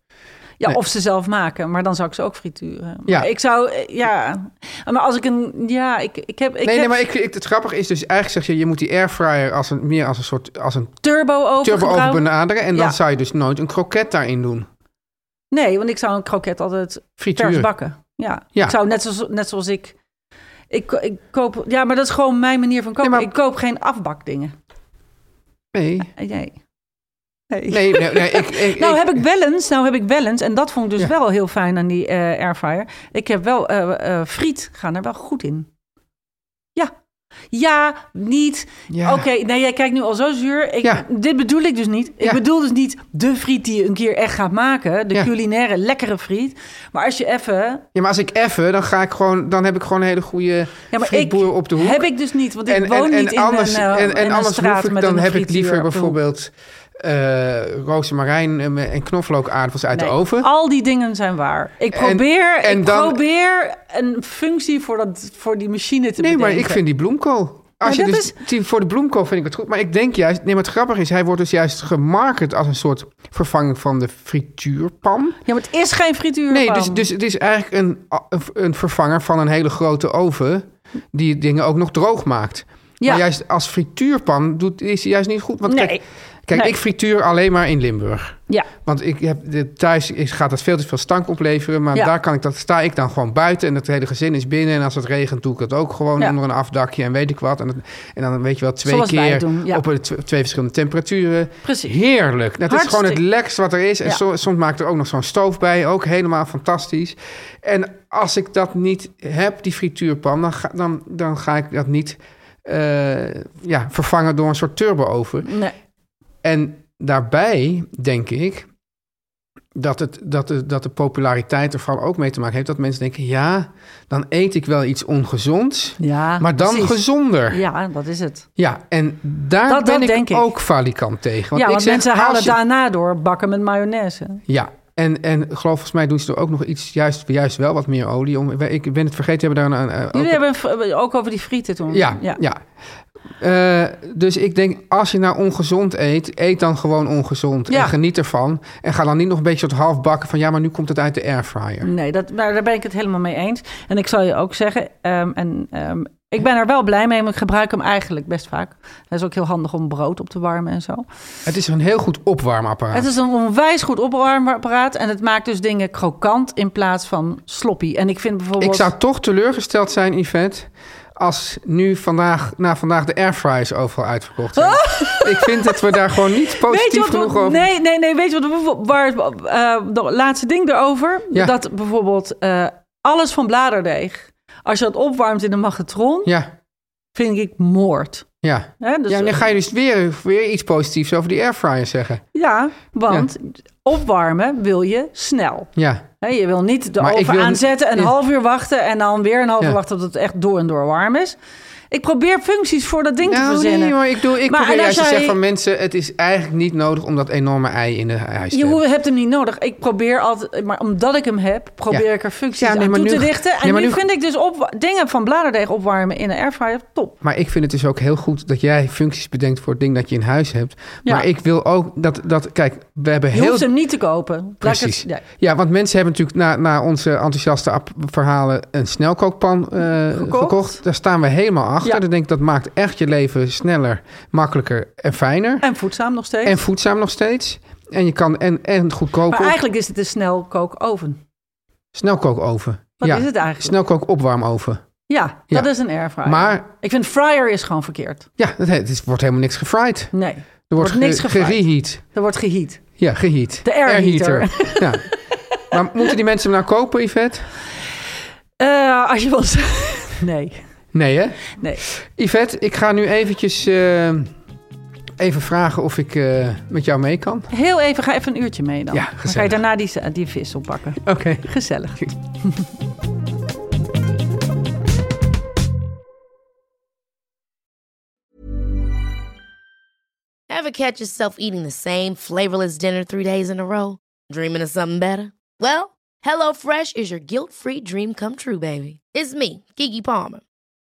[SPEAKER 3] Ja,
[SPEAKER 2] Nee.
[SPEAKER 3] of ze zelf maken, maar dan zou ik ze ook frituren. Maar
[SPEAKER 2] Ja.
[SPEAKER 3] Ik zou, eh, ja. Maar als ik een, ja, ik, ik heb, ik
[SPEAKER 2] nee,
[SPEAKER 3] heb
[SPEAKER 2] nee, maar ik, ik, het grappige is dus eigenlijk zeg je... je moet die airfryer als een, meer als een soort als een
[SPEAKER 3] turbo over
[SPEAKER 2] turbo over
[SPEAKER 3] gebruiken.
[SPEAKER 2] benaderen... en dan
[SPEAKER 3] Ja.
[SPEAKER 2] zou je dus nooit een kroket daarin doen.
[SPEAKER 3] Nee, want ik zou een kroket altijd vers
[SPEAKER 2] Frituur.
[SPEAKER 3] bakken. Ja.
[SPEAKER 2] Ja.
[SPEAKER 3] Ik zou net zoals, net zoals ik, ik, ik koop, ja, maar dat is gewoon mijn manier van kopen.
[SPEAKER 2] Nee, maar-
[SPEAKER 3] Ik koop geen afbakdingen.
[SPEAKER 2] Nee.
[SPEAKER 3] Eh, Nee.
[SPEAKER 2] Nee, nee, nee, ik, ik,
[SPEAKER 3] Nou
[SPEAKER 2] ik-
[SPEAKER 3] heb ik wel eens, nou heb ik wel eens, en dat vond ik
[SPEAKER 2] Ja.
[SPEAKER 3] dus wel heel fijn aan die eh, airfryer. Ik heb wel eh, eh, friet, gaan er wel goed in. Ja, ja, niet.
[SPEAKER 2] Ja.
[SPEAKER 3] Oké, nee, jij kijkt nu al zo zuur. Ik,
[SPEAKER 2] Ja.
[SPEAKER 3] Dit bedoel ik dus niet. Ik
[SPEAKER 2] Ja.
[SPEAKER 3] bedoel dus niet de friet die je een keer echt gaat maken, de
[SPEAKER 2] Ja.
[SPEAKER 3] culinaire lekkere friet. Maar als je even
[SPEAKER 2] Ja, maar als ik effen, dan ga ik gewoon, dan heb ik gewoon een hele goede
[SPEAKER 3] Ja, maar ik
[SPEAKER 2] frietboer op de hoek.
[SPEAKER 3] heb ik dus niet, want ik
[SPEAKER 2] en,
[SPEAKER 3] woon
[SPEAKER 2] en,
[SPEAKER 3] niet
[SPEAKER 2] en anders,
[SPEAKER 3] in een, eh,
[SPEAKER 2] en, en
[SPEAKER 3] in een
[SPEAKER 2] anders
[SPEAKER 3] straat
[SPEAKER 2] hoef ik,
[SPEAKER 3] met
[SPEAKER 2] dan
[SPEAKER 3] een
[SPEAKER 2] heb ik
[SPEAKER 3] frituur op
[SPEAKER 2] liever
[SPEAKER 3] de hoek.
[SPEAKER 2] bijvoorbeeld eh rozemarijn en, en knoflookaardappels uit
[SPEAKER 3] Nee,
[SPEAKER 2] de oven.
[SPEAKER 3] Al die dingen zijn waar. Ik
[SPEAKER 2] En-
[SPEAKER 3] probeer,
[SPEAKER 2] en
[SPEAKER 3] ik
[SPEAKER 2] dan-
[SPEAKER 3] probeer een functie voor, dat, voor die machine te
[SPEAKER 2] Nee, maar
[SPEAKER 3] bedenken.
[SPEAKER 2] ik vind die bloemkool. Als
[SPEAKER 3] Maar
[SPEAKER 2] je
[SPEAKER 3] dat
[SPEAKER 2] dus, die- Voor de bloemkool vind ik het goed. Maar ik denk juist, nee, maar het grappige is, hij wordt dus juist gemarket als een soort vervanging van de frituurpan.
[SPEAKER 3] Ja, maar het is geen frituur.
[SPEAKER 2] Nee, dus, dus het is eigenlijk een, een vervanger van een hele grote oven die dingen ook nog droog maakt.
[SPEAKER 3] Ja.
[SPEAKER 2] Maar juist als frituurpan doet, is die juist niet goed. Want
[SPEAKER 3] Nee.
[SPEAKER 2] kijk, kijk
[SPEAKER 3] Nee.
[SPEAKER 2] ik frituur alleen maar in Limburg.
[SPEAKER 3] Ja,
[SPEAKER 2] Want ik heb, de- thuis is, gaat dat veel te veel stank opleveren. Maar
[SPEAKER 3] Ja.
[SPEAKER 2] daar kan ik, dat sta ik dan gewoon buiten. En het hele gezin is binnen. En als het regent, doe ik dat ook gewoon
[SPEAKER 3] Ja.
[SPEAKER 2] onder een afdakje. En weet ik wat. En, dat- en dan weet je wel twee
[SPEAKER 3] Zoals wij
[SPEAKER 2] keer
[SPEAKER 3] doen, ja.
[SPEAKER 2] op een- tw- twee verschillende temperaturen.
[SPEAKER 3] precies.
[SPEAKER 2] Heerlijk. Dat is gewoon het
[SPEAKER 3] Hartstikke.
[SPEAKER 2] lekkerst wat er is. En
[SPEAKER 3] Ja.
[SPEAKER 2] so- soms maakt er ook nog zo'n stoof bij. Ook helemaal fantastisch. En als ik dat niet heb, die frituurpan, dan ga, dan, dan ga ik dat niet eh, ja, vervangen door een soort turbo-oven.
[SPEAKER 3] Nee.
[SPEAKER 2] En daarbij denk ik, dat, het, dat, de, dat de populariteit ervan ook mee te maken heeft. Dat mensen denken, ja, dan eet ik wel iets ongezonds,
[SPEAKER 3] Ja,
[SPEAKER 2] maar dan
[SPEAKER 3] precies.
[SPEAKER 2] gezonder. Ja,
[SPEAKER 3] Ja, dat is het.
[SPEAKER 2] en daar
[SPEAKER 3] Dat-
[SPEAKER 2] ben
[SPEAKER 3] dat
[SPEAKER 2] ik
[SPEAKER 3] denk ik.
[SPEAKER 2] ook valikant tegen. Want
[SPEAKER 3] ja,
[SPEAKER 2] ik
[SPEAKER 3] want
[SPEAKER 2] zeg,
[SPEAKER 3] mensen
[SPEAKER 2] als
[SPEAKER 3] halen
[SPEAKER 2] je-
[SPEAKER 3] daarna door bakken met mayonaise.
[SPEAKER 2] Ja, en, en geloof volgens mij doen ze er ook nog iets, juist, juist wel wat meer olie om. Ik ben het vergeten, hebben daar een... eh, ook-
[SPEAKER 3] Jullie hebben een v- ook over die frieten toen.
[SPEAKER 2] Ja, ja. Eh, dus ik denk, als je nou ongezond eet, eet dan gewoon ongezond
[SPEAKER 3] Ja.
[SPEAKER 2] en geniet ervan. En ga dan niet nog een beetje soort half bakken van, ja, maar nu komt het uit de airfryer.
[SPEAKER 3] Nee, dat, maar daar ben ik het helemaal mee eens. En ik zal je ook zeggen, ehm, en, ehm, ik ben er wel blij mee, maar ik gebruik hem eigenlijk best vaak. Hij is ook heel handig om brood op te warmen en zo.
[SPEAKER 2] Het is een heel goed opwarmapparaat.
[SPEAKER 3] Het is een onwijs goed opwarmapparaat en het maakt dus dingen krokant in plaats van sloppy. En ik vind bijvoorbeeld...
[SPEAKER 2] Ik zou toch teleurgesteld zijn, Yvette, als nu vandaag, na vandaag de airfryers overal uitverkocht zijn. Ik vind dat we daar gewoon niet
[SPEAKER 3] Oh! Weet je
[SPEAKER 2] positief
[SPEAKER 3] wat, we-
[SPEAKER 2] genoeg over...
[SPEAKER 3] Nee, nee, nee. Weet je wat, we- waar, eh, dat laatste ding erover?
[SPEAKER 2] Ja.
[SPEAKER 3] Dat bijvoorbeeld eh, alles van bladerdeeg, als je dat opwarmt in de magnetron,
[SPEAKER 2] Ja,
[SPEAKER 3] vind ik moord.
[SPEAKER 2] ja.
[SPEAKER 3] Hè, dus,
[SPEAKER 2] ja, en dan ga je dus weer, weer iets positiefs over die airfryer zeggen.
[SPEAKER 3] eh, ja, want opwarmen wil je snel.
[SPEAKER 2] Ja.
[SPEAKER 3] Hè, je wil niet de
[SPEAKER 2] Maar ik
[SPEAKER 3] oven
[SPEAKER 2] wil-
[SPEAKER 3] aanzetten, een
[SPEAKER 2] Ja.
[SPEAKER 3] half uur wachten en dan weer een half
[SPEAKER 2] Ja.
[SPEAKER 3] uur wachten tot het echt door en door warm is. Ik probeer functies voor dat ding te
[SPEAKER 2] Nou,
[SPEAKER 3] verzinnen.
[SPEAKER 2] nee, maar ik, doe, ik
[SPEAKER 3] Maar
[SPEAKER 2] probeer
[SPEAKER 3] en als
[SPEAKER 2] juist te
[SPEAKER 3] jij-
[SPEAKER 2] zeggen van mensen... het is eigenlijk niet nodig om dat enorme ei in de huis te
[SPEAKER 3] Je
[SPEAKER 2] hebben.
[SPEAKER 3] hoe- hebt hem niet nodig. Ik probeer altijd, maar omdat ik hem heb, probeer
[SPEAKER 2] Ja.
[SPEAKER 3] ik er functies
[SPEAKER 2] Ja, nee,
[SPEAKER 3] aan
[SPEAKER 2] maar
[SPEAKER 3] toe
[SPEAKER 2] nu-
[SPEAKER 3] te dichten. En
[SPEAKER 2] nee, maar
[SPEAKER 3] nu,
[SPEAKER 2] nu-
[SPEAKER 3] vind ik dus op, dingen van bladerdeeg opwarmen in een airfryer top.
[SPEAKER 2] Maar ik vind het dus ook heel goed dat jij functies bedenkt... voor het ding dat je in huis hebt.
[SPEAKER 3] Ja.
[SPEAKER 2] Maar ik wil ook dat... dat kijk, we hebben
[SPEAKER 3] Je
[SPEAKER 2] heel...
[SPEAKER 3] hoeft hem niet te kopen. Laat ik
[SPEAKER 2] Precies.
[SPEAKER 3] het- ja.
[SPEAKER 2] Ja, want mensen hebben natuurlijk na, na onze enthousiaste ap- verhalen een snelkookpan eh, gekocht.
[SPEAKER 3] Gekocht.
[SPEAKER 2] Daar staan we helemaal achter.
[SPEAKER 3] Ja.
[SPEAKER 2] Dan denk ik, dat maakt echt je leven sneller, makkelijker en fijner.
[SPEAKER 3] En voedzaam nog steeds.
[SPEAKER 2] En voedzaam nog steeds. En je kan en, en
[SPEAKER 3] maar
[SPEAKER 2] goedkoper.
[SPEAKER 3] eigenlijk is het een snelkookoven.
[SPEAKER 2] Snelkookoven.
[SPEAKER 3] Wat
[SPEAKER 2] ja.
[SPEAKER 3] is het eigenlijk?
[SPEAKER 2] Snelkook opwarmoven.
[SPEAKER 3] Ja,
[SPEAKER 2] Ja.
[SPEAKER 3] dat is een airfryer.
[SPEAKER 2] Maar-
[SPEAKER 3] ik vind fryer is gewoon verkeerd.
[SPEAKER 2] Ja, dat, he- het is- wordt helemaal niks gefried. Er
[SPEAKER 3] Nee,
[SPEAKER 2] wordt,
[SPEAKER 3] wordt
[SPEAKER 2] ge-
[SPEAKER 3] niks gefried.
[SPEAKER 2] gereheat.
[SPEAKER 3] er wordt geheat.
[SPEAKER 2] Ja, geheat.
[SPEAKER 3] De airheater.
[SPEAKER 2] Airheater. ja. Maar moeten die mensen hem nou kopen, Yvette?
[SPEAKER 3] Eh, als je wil Nee,
[SPEAKER 2] Nee, hè?
[SPEAKER 3] nee.
[SPEAKER 2] Yvette, ik ga nu eventjes eh, even vragen of ik eh, met jou mee kan.
[SPEAKER 3] Heel even, ga even een uurtje mee dan.
[SPEAKER 2] Ja,
[SPEAKER 3] dan ga je
[SPEAKER 2] gezellig.
[SPEAKER 3] daarna die, die vis oppakken.
[SPEAKER 2] Oké.
[SPEAKER 3] Gezellig.
[SPEAKER 4] Ever catch yourself eating the same flavorless dinner three days in a row? Dreaming of something better? Well, HelloFresh is your guilt free dream come true, baby. It's me, Kiki Palmer.